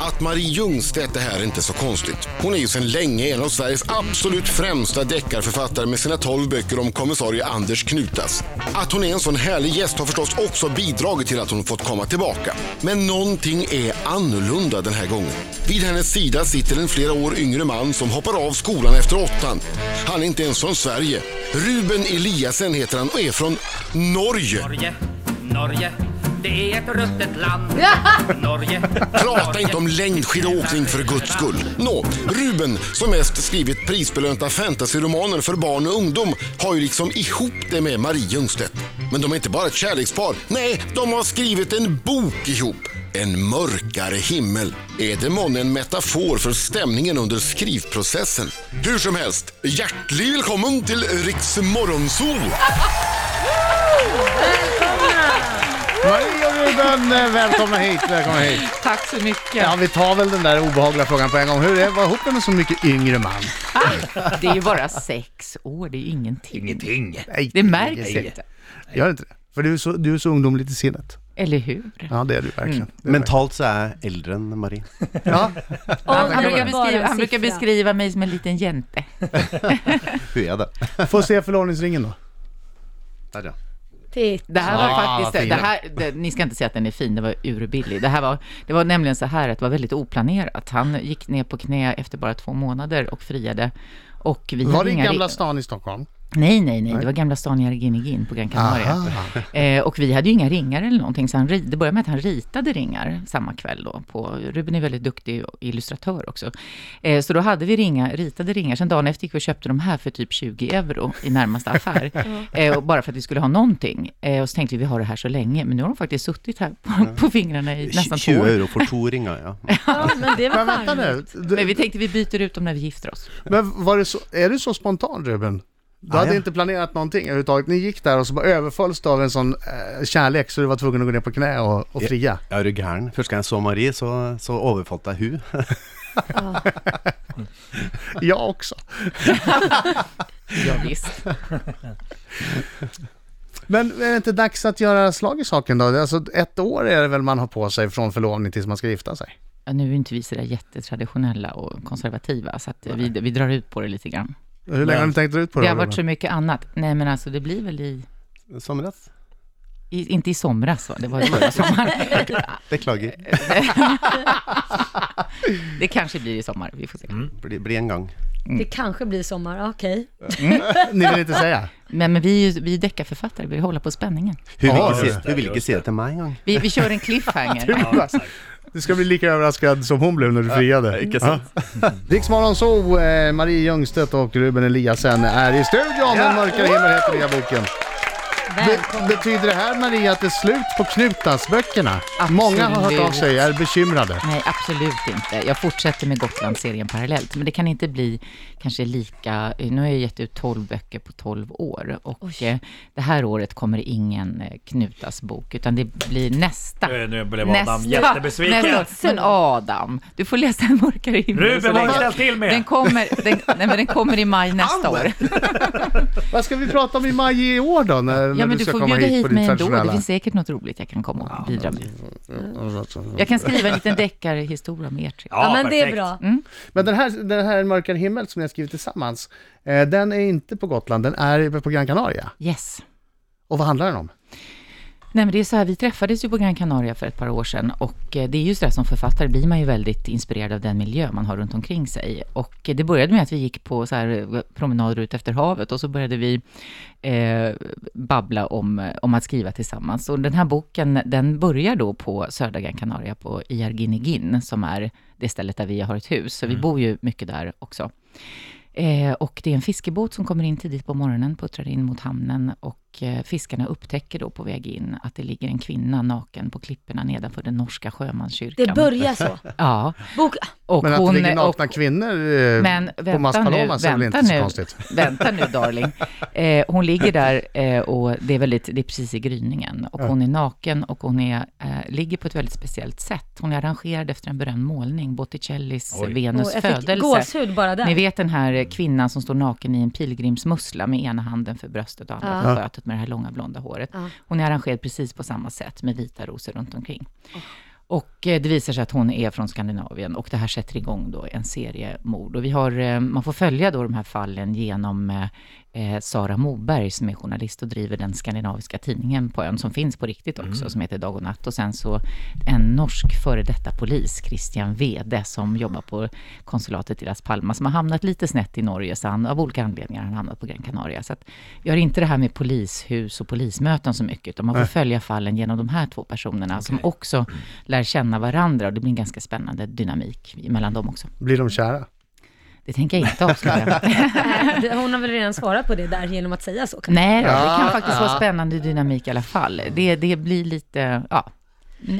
Att Marie Ljungstedt är här inte så konstigt. Hon är ju sedan länge en av Sveriges absolut främsta deckarförfattare med sina 12 böcker om kommissarie Anders Knutas. Att hon är en sån härlig gäst har förstås också bidragit till att hon fått komma tillbaka. Men någonting är annorlunda den här gången. Vid hennes sida sitter en flera år yngre man som hoppar av skolan efter åttan. Han är inte ens från Sverige. Ruben Eliasen heter han och är från Norge. Norge, Norge, det är ett ruttet land. Norge, Prata inte om längdskidåkning för guds skull. Nå, Ruben, som mest skrivit prisbelönta fantasyromaner för barn och ungdom, har ju liksom ihop det med Marie Ljungstedt. Men de är inte bara ett kärlekspar. Nej, de har skrivit en bok ihop. En mörkare himmel. Är det månne en metafor för stämningen under skrivprocessen? Hur som helst, hjärtligt välkommen till Riks Morgonzoo! Marie och Ruben, eh, välkomna hit, välkomna hit. Tack så mycket. Ja, vi tar väl den där obehagliga frågan på en gång. Hur är det att vara ihop med en så mycket yngre man? Det är ju bara sex år, det är ju ingenting. Ingenting. Det märks inte. Gör inte det? För du är så, du är så ungdomligt i sinnet. Eller hur? Ja, det är du verkligen. Det är Mentalt så är jag äldre än Marie. verkligen. Ja, Han brukar, det var beskriva, en han brukar siffra. beskriva mig som en liten jente. Hur är det? får se förlovningsringen då. Där ja. Titt. Det här var Ah, faktiskt, fin. det här, det, ni ska inte säga att den är fin, det var urbillig. Det här var, det var nämligen så här att det var väldigt oplanerat. Han gick ner på knä efter bara två månader och friade. Och vi Var hade det i inga Gamla reg- stan i Stockholm? Nej, nej, nej, det var gamla stan i Arginigin på Gran Canaria. Eh, och vi hade ju inga ringar eller någonting, så han, ri- det började med att han ritade ringar samma kväll då. På, Ruben är väldigt duktig illustratör också. Eh, så då hade vi ringa, ritade ringar, sen dagen efter gick vi och köpte de här för typ 20 euro i närmaste affär. eh, och bara för att vi skulle ha någonting. Eh, och så tänkte vi, vi har det här så länge, men nu har de faktiskt suttit här på, på fingrarna i nästan två 20 år. euro för två ringar, ja. Ja, men det var Men vänta varmt. nu. Men Du, vi tänkte vi byter ut dem när vi gifter oss. men var det så, är du så spontan Ruben? Du hade ja. inte planerat någonting överhuvudtaget. Ni gick där och så bara överfölls du av en sån eh, kärlek så du var tvungen att gå ner på knä och, och fria. Jag är du gärn? Först när jag såg Marie så, så överfallt jag henne. Jag också. Ja, visst. Men är det inte dags att göra slag i saken då? Alltså ett år är det väl man har på sig från förlovning tills man ska gifta sig? Ja, nu är inte vi sådär jättetraditionella och konservativa, så att eh, vi, vi drar ut på det lite grann. Hur länge har ni tänkt ut på det? Det har varit Ruben? så mycket annat. Nej, men alltså det blir väl i... Somras? i inte i somras, va? Det var ju förra sommaren. Beklagar. Det kanske blir i sommar, vi får se. Bli, bli en gång. Det kanske blir sommar, okej. Mm. Ni vill inte säga? Men, men vi är ju vi är deckarförfattare, vi vill hålla på spänningen. Hur vill Ah, Ja, inte just se, hur vill inte se det till mig en gång? Vi, vi kör en cliffhanger. Du ska bli lika överraskad som hon blev när du friade. Icke sant. Ah. Riksmorgon så eh, Marie Ljungstedt och Ruben Eliasen är i studion. Den mörkare himmel heter nya boken. Välkommen. Be- betyder det här Marie att det är slut på Knutas-böckerna? Många har hört av sig, är bekymrade. Nej, absolut inte. Jag fortsätter med Gotlandsserien parallellt, men det kan inte bli kanske lika... Nu har jag gett ut 12 böcker på 12 år och eh, det här året kommer ingen eh, Knutas bok, utan det blir nästa. Eh, nu blev Adam jättebesviken. Nästa. Men Adam, du får läsa En mörkare himmel Ruben, så vad har länge. du ställt till med? Den kommer, den, nej, men den kommer i maj nästa år. Vad ska vi prata om i maj i år då? När, när Ja, men du du ska får komma bjuda hit hit på ditt mig ändå. Det traditionella... finns säkert något roligt jag kan komma och bidra med. Jag kan skriva en liten deckarhistoria med er tre. Ja, men det är perfekt. bra. Men den här, den här Mörkare himmel som ni har skrivit tillsammans, eh, den är inte på Gotland, den är på Gran Canaria. Yes. Och vad handlar den om? Nej men det är så här, vi träffades ju på Gran Canaria för ett par år sedan och eh, det är ju så där som författare blir man ju väldigt inspirerad av den miljö man har runt omkring sig. Och eh, det började med att vi gick på så här eh, promenader ut efter havet och så började vi eh, babbla om, eh, om att skriva tillsammans. Och den här boken, den börjar då på södra Gran Canaria på Iarginigin som är det stället där vi har ett hus. Så vi bor ju mycket där också. Eh, och det är en fiskebåt som kommer in tidigt på morgonen, puttrar in mot hamnen och eh, fiskarna upptäcker då på väg in att det ligger en kvinna naken på klipporna nedanför den norska sjömanskyrkan. Det börjar så. Ja, Bok... och Men att hon... det ligger nakna och, kvinnor eh, men på Mas vänta nu, Palomas är väl vänta inte så nu, konstigt? vänta nu darling. Eh, hon ligger där eh, och det är, väldigt, det är precis i gryningen och hon är naken och hon är, eh, ligger på ett väldigt speciellt sätt. Hon är arrangerad efter en berömd målning, Botticellis Oj. Venus Och jag fick födelse. gåshud bara Ni där. vet den här eh, kvinnan som står naken i en pilgrimsmussla med ena handen för bröstet och andra Ja. för skötet med det här långa blonda håret. Ja. Hon är arrangerad precis på samma sätt med vita rosor runt omkring. Och eh, det visar sig att hon är från Skandinavien och det här sätter igång då en serie mord. Och vi har, eh, man får följa då de här fallen genom eh, eh, Sara Moberg som är journalist och driver den skandinaviska tidningen på ön som finns på riktigt också, som heter Dag och Natt. Och sen så en norsk före detta polis, Christian Wede, som jobbar på konsulatet i Las Palmas, som har hamnat lite snett i Norge, så han av olika anledningar har han hamnat på Gran Canaria. Så att vi har inte det här med polishus och polismöten så mycket, utan man får följa fallen genom de här två personerna, som också lär känna varandra och det blir en ganska spännande dynamik mellan dem också. Blir de kära? Det tänker jag inte avslöja. Nej, Äh, det- Hon har väl redan svarat på det där genom att säga så. kanske. Nej, då, det kan faktiskt vara spännande dynamik i alla fall. Det, det blir lite, ja,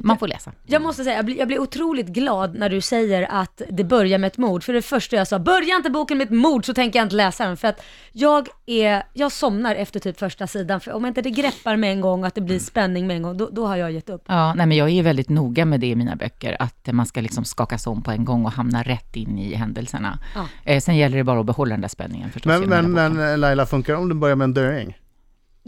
man får läsa. Jag måste säga, jag blir, jag blir otroligt glad när du säger att det börjar med ett mord. För det första jag sa, börja inte boken med ett mord så tänker jag inte läsa den. För att jag, är, jag somnar efter typ första sidan. För om inte det greppar med en gång och att det blir spänning med en gång, då, då har jag gett upp. Ja, nej, men jag är väldigt noga med det i mina böcker, att man ska liksom skakas om på en gång och hamna rätt in i händelserna. Ja. Eh, sen gäller det bara att behålla den där spänningen förstås. Men, genom hela men, men boken. eh, Laila, funkar det om du börjar med en döing?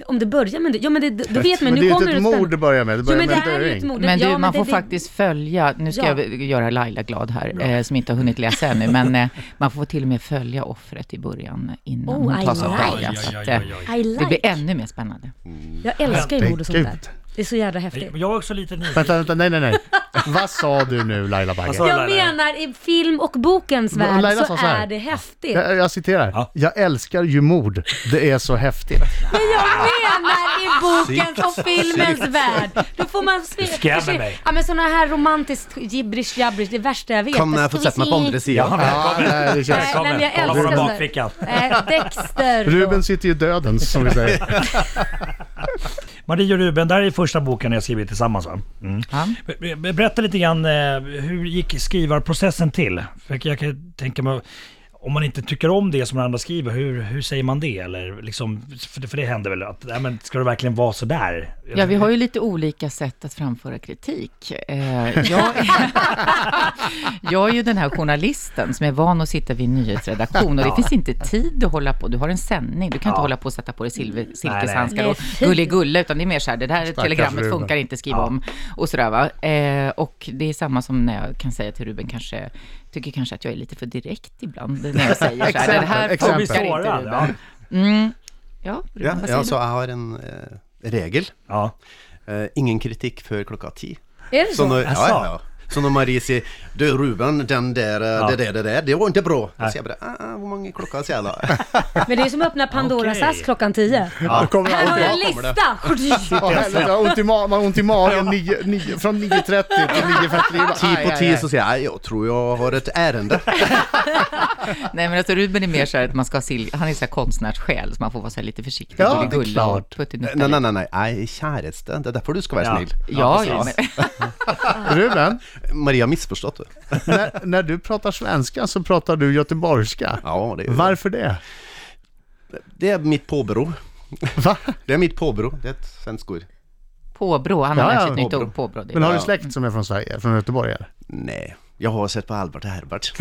Om det börjar med det, ja men det, då vet man, Men det är nu ju kommer inte ett spänning. mord du börjar med, du Jo börjar men det med här en är ju ett döing. mord. Men du, ja, man det- får det- faktiskt följa, nu ska Ja. jag göra Laila glad här, eh, som inte har hunnit läsa ännu, men eh, man får till och med följa offret i början innan Oh, hon I tas av like. dagen. Så att, eh, I det blir like. ännu mer spännande. Jag älskar ju mord och sånt där. Herregud. Det är så jävla häftigt. Jag är också lite nyfiken. Vänta, vänta, nej, nej, nej. Vad sa du nu Laila Bagge? sa- Jag menar i film och bokens Men värld Laila så sa så här. är det häftigt. Jag, jag citerar. Ja. Jag älskar ju mord. Det är så häftigt. Men jag menar i bokens och filmens värld. Då får man se... skrämmer mig. Ja men sådana här romantiskt gibberish jabberish, det värsta jag vet. Kom när jag Ska får vi sätta mig se- på andra sidan. Ja, nej, det känns... Nej, men jag Kolla på älskar den sån där. bakfickan. Nej, Dexter. då. Ruben sitter ju i döden, som vi säger. Marie och Ruben, det här är första boken ni har skrivit tillsammans va? Mm. Ja. Be- be- Berätta lite grann, eh, hur gick skrivarprocessen till? För jag kan tänka mig, om man inte tycker om det som den andra skriver, hur, hur säger man det? Eller liksom, för, det, för det händer väl att, nej, men ska det verkligen vara sådär? Ja, vi har ju lite olika sätt att framföra kritik. Eh, jag, jag är ju den här journalisten som är van att sitta vid en nyhetsredaktion och det finns inte tid att hålla på. Du har en sändning, du kan inte Ja. hålla på och sätta på dig silver, Nej, silkeshandskar nej. och gulligulla, utan det är mer så här, det här telegrammet Ruben. funkar inte, skriva om och sådär va. Eh, och det är samma som när jag kan säga till Ruben kanske, tycker kanske att jag är lite för direkt ibland när jag säger så här, det här Exempel, funkar exempel. inte Ruben. Ja. Mm. Ja, Ruben, Ja, vad säger ja, du? så jag har en eh, regel. ja. Eh, ingen kritik för klockan tio. Är det Så när, så? ja, ja, ja. så när Marie säger Du Ruben, den där, eh, det där, det där, det var inte bra. Då säger jag bara, ah, ah, hur många klockan säger jag då? Men det är som att öppna Pandoras Okej. ask klockan tio. Då kommer Här har alltid- jag en Ja, kommer lista! Åh, helvete, jag har ont i ma- man har ont i magen nio- nio- från 9.30 till 9.43. Tio Aj, Typ på aj, tio aj. så säger jag, "Nej, jag tror jag har ett ärende. Nej men alltså Ruben är mer så här att man ska ha sil- han är så här konstnärssjäl så man får vara så här lite försiktig Ja, och det är gulla och klart. puttinutta Nej, lite. nej, nej, nej, nej, käraste, det är därför du ska vara Ja. snill. Ja, ja, men, Ruben, Maria har missförstått det. när, när du pratar svenska så pratar du göteborgska. Ja, det är, Varför det? det är mitt påbrå. Va? Det är mitt påbrå, det är ett svenskt ord. påbrå, han har Ja, lärt sig ja, ett nytt påbrå. ord, påbrå. Det är Men har bra. du släkt som är från Sverige, från Göteborg? Eller? Nej, jag har sett på Albert och Herbert.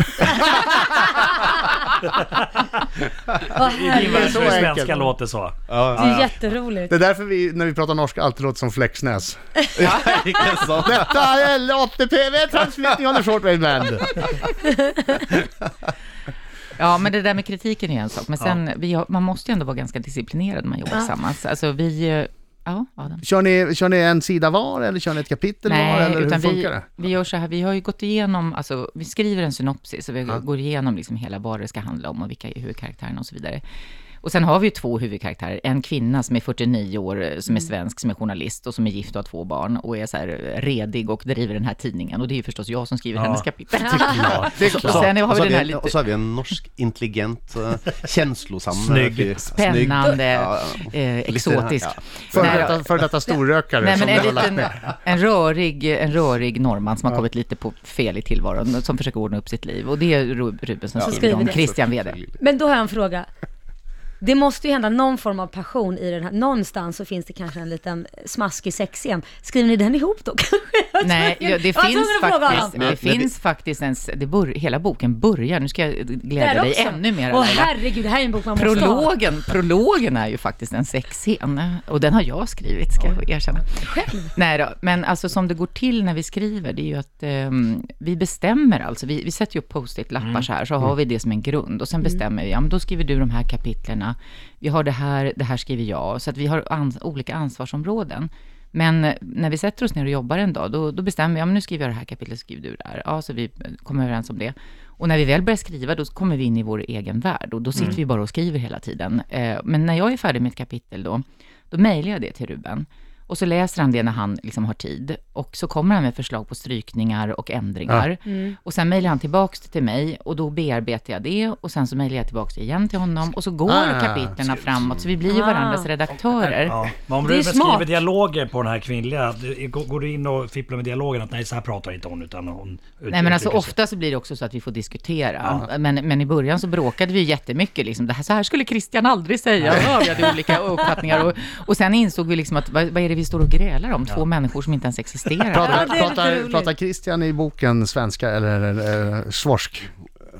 Åh, herregud. Ingvar, så för enkelt. svenska låter så. Det är jätteroligt. Det är därför vi, när vi pratar norska, alltid låter som Flexnäs. Vilken sån. Detta är LATPV, transmittning on the shortwave band. Ja, men det där med kritiken är en sak. Men sen, vi har, man måste ju ändå vara ganska disciplinerad när man jobbar tillsammans. Alltså vi, eh, ja, Adam. Kör ni, kör ni en sida var eller kör ni ett kapitel var? Eller hur funkar vi, det? vi gör så här, vi har ju gått igenom, alltså, vi skriver en synopsis och vi går igenom liksom hela vad det ska handla om och vilka är huvudkaraktärerna och så vidare. Och sen har vi ju två huvudkaraktärer, en kvinna som är 49 år, eh, som Mm. är svensk, som är journalist och som är gift och har två barn och är så här eh, redig och driver den här tidningen. Och det är ju förstås jag som skriver hennes kapitel. Det är klart. Och sen har Och vi så den har här vi en- lite och så har vi en norsk, intelligent, eh, känslosam... Snygg. fyr. spännande, Ja, ja. eh, exotisk. ja. För Nej, detta, för detta storrökare Nej, som men du en, har lagt liten, ner. en, rörig, en rörig norrman som har kommit lite på fel i tillvaron, som försöker ordna upp sitt liv. Och det är Ru- Ruben som skriver skriver om det. Christian Wede. Men då har jag en fråga. det måste ju hända någon form av passion i den här. Någonstans så finns det kanske en liten smaskig sexscen. Skriver ni den ihop då kanske? Nej, ja, det Jag var finns tvungen att fråga faktiskt, honom. det finns faktiskt en, s- det bör, hela boken börjar, nu ska jag Där glädja dig också. ännu mer. Åh Laila. herregud, det här är en bok man måste ha. Prologen, prologen är ju faktiskt en sexscen och den har jag skrivit, ska jag erkänna. Själv? Nej då, men alltså som det går till när vi skriver, det är ju att ehm, vi bestämmer alltså, vi, vi sätter ju upp post-it-lappar så här, så har vi det som en grund och sen bestämmer vi, ja men då skriver du de här kapitlerna, vi har det här, det här skriver jag, så att vi har ans- olika ansvarsområden. Men eh, när vi sätter oss ner och jobbar en dag, då, då bestämmer vi, ja men nu skriver jag det här kapitlet, skriver du där. Ja, så vi eh, kommer överens om det. Och när vi väl börjar skriva, då kommer vi in i vår egen värld och då sitter vi bara och skriver hela tiden. Eh, Men när jag är färdig med ett kapitel då, då mejlar jag det till Ruben. Och så läser han det när han liksom har tid. Och så kommer han med förslag på strykningar och ändringar. Och sen mejlar han tillbaks det till mig och då bearbetar jag det. Och sen så mejlar jag tillbaks det igen till honom. Och så går Ah, kapitlerna framåt, så vi blir ju varandras Ah. redaktörer. Ja, men om Det är du beskriver smart. dialoger på den här kvinnliga, du- går går du in och fipplar med dialogen att nej så här pratar inte hon utan hon Nej men alltså uttrycker sig. ofta så blir det också så att vi får diskutera. Men, men i början så bråkade vi ju jättemycket. Liksom, det här, så här skulle Christian aldrig säga. Ja, vi hade olika uppfattningar. Och, och sen insåg vi liksom att vad, vad är det vi står och grälar om? Två människor som inte ens existerar. Ja, Pratar, det är lite pratar, roligt. pratar Christian i boken svenska eller eh, svorsk?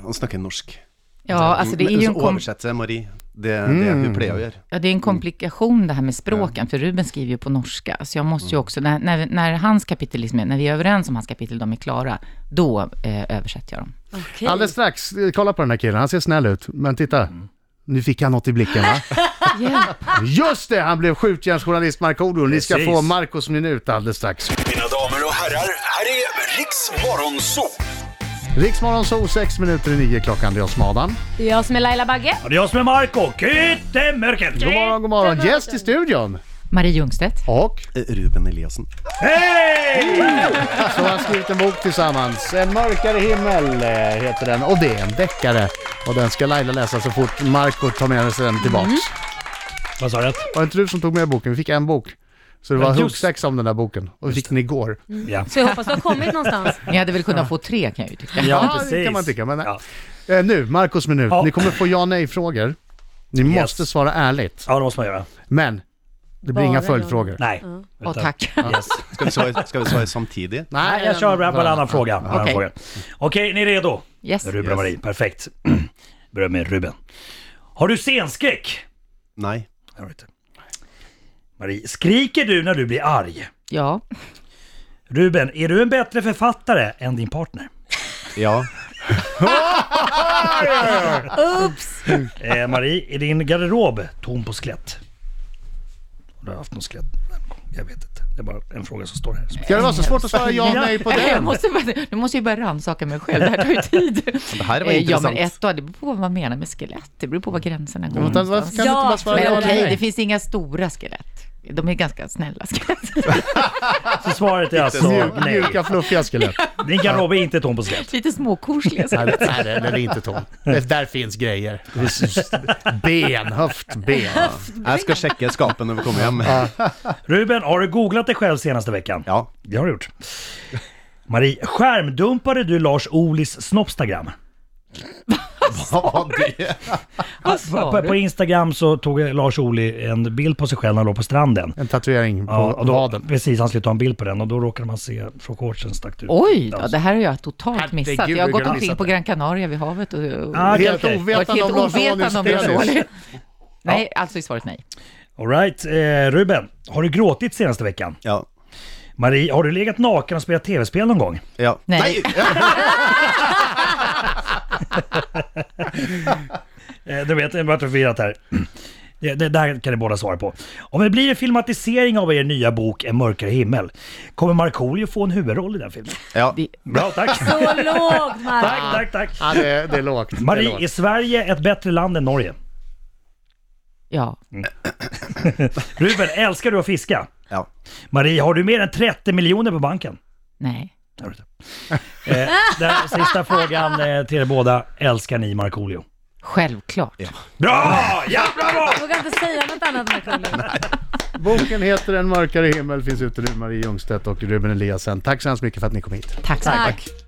Han snackar norsk. Ja, alltså det är ju en, Så kom, oversetter Marie. Det, det Mm. vi pleier å gjøre. ja, det är en komplikation det här med språken. För Ruben skriver ju på norska. Så jag måste ju också, när, när, när hans kapitel, liksom, är- när vi är överens om hans kapitel, de är klara, då eh, översätter jag dem. Okej. Alldeles strax, eh, kolla på den här killen, han ser snäll ut. Men titta, Mm. nu fick han något i blicken va? Just det, han blev skjutjärnsjournalist Markoolio. Ni ska Precis. få Marcos minut alldeles strax. Mina damer och herrar, här är Riks Morgonzoo! Riksmorgon så 6 minuter i 9 klockan, det är jag som är Adam. Jag som är Laila Bagge. Ja, det är jag som är Marco Kyttemörken! God morgon, god morgon. Gäst i studion. Marie Ljungstedt. Och Eh, Ruben Eliassen. Hej! så har han skrivit en bok tillsammans. En mörkare himmel eh, heter den och det är en deckare. Och den ska Laila läsa så fort Marco tar med sig den tillbaks. Vad sa du? Var det inte du som tog med boken? Vi fick en bok. Så det var just- huggsexa om den där boken. Och vi fick den igår. Ja. Så jag hoppas du har kommit någonstans. Ni hade väl kunnat få tre kan jag ju tycka. Ja, det kan man tycka. Men, nej. eh, nu, Marcos minut. Ja. Ni kommer få ja nej-frågor. Ni Yes. måste svara ärligt. Ja, det måste man göra. Men det blir Bara inga ja. följdfrågor. Nej. Åh, Utan- tack. Yes. Skal vi svare, skal vi svare samtidig? Nej, jag kör bara en annan fråga. en annan Okej. fråga. Okej, ni är redo? Yes. Ruben och Marie, perfekt. Börjar med Ruben. Har du scenskräck? Nei. Jag vet inte. Marie, skriker du när du blir arg? Ja. Ruben, är du en bättre författare än din partner? Ja. Oops! Eh, Marie, är din garderob tom på skelett? Har du haft någon skelett? Jag vet inte. Det är bara en fråga som står här. Ska det vara så svårt att svara ja nej på Jag den? måste, bara- nu måste jag börja rannsaka mig själv, det här tar ju tid. Det här var Eh, Ja, intressant. men ett då, det beror på vad man menar med skelett. Det beror på vad gränserna går. Vänta, Varför kan du inte Ja, bara svara Men ja okej, eller nej? det finns inga stora skelett. De är ganska snälla skelett. Så svaret är alltså Mjuk, nej. mjuka, fluffiga skelett. Din garderob är inte tom på skelett. Lite småkosliga Nej, skelett. det- nej, det- det är inte tom. Det- Där finns grejer. Det finns Ben, höftben. Jeg skal sjekke skapet når vi kommer hjem. Ruben, har du googlat dig själv senaste veckan? Ja. Det har du gjort. Marie, skärmdumpade du Lars Olis snoppstagram? Vad På, sa på du? Instagram så tog Lars Ohly en bild på sig själv när han låg på stranden. En tatuering på Ja, och då, vaden. precis, han skulle ta en bild på den och då råkade man se från shortsen stack ut. Oj då, det här har jag Alltså. totalt Herregud, missat. Jag har hur gått kan du omkring missat på det? Gran Canaria vid havet och, och Ah, okej, Helt okej. varit ovetande helt om Lars ovetande om Lars Ohlys penis. Ohly. Nej, alltså är svaret nej. All right, eh, Ruben, har du gråtit senaste veckan? Ja. Marie, har du legat naken och spelat tv-spel någon gång? Ja. Nej. Eh, du vet, jag vart förvirrat här. Det, det, det här kan ni båda svara på. Om det blir en filmatisering av er nya bok En mörkare himmel, kommer Markoolio få en huvudroll i den filmen? Ja. Det- Bra, tack! Så lågt tack, Mark. tack, tack! Ja, det, det är lågt. Det är Marie, är lågt. Sverige ett bättre land än Norge? Ja, Ruben, älskar du att fiska? Ja. Marie, har du mer än 30 miljoner på banken? nej. Jag vet inte. Eh, den sista frågan eh, till er båda. Älskar ni Markoolio? Självklart. Bra! Ja, bravo! Jag vågar inte säga något annat Markoolio. Boken heter En mörkare himmel, finns ute nu. Marie Ljungstedt och Ruben Eliasen. Tack så hemskt mycket för att ni kom hit. Tack så mycket. Tack.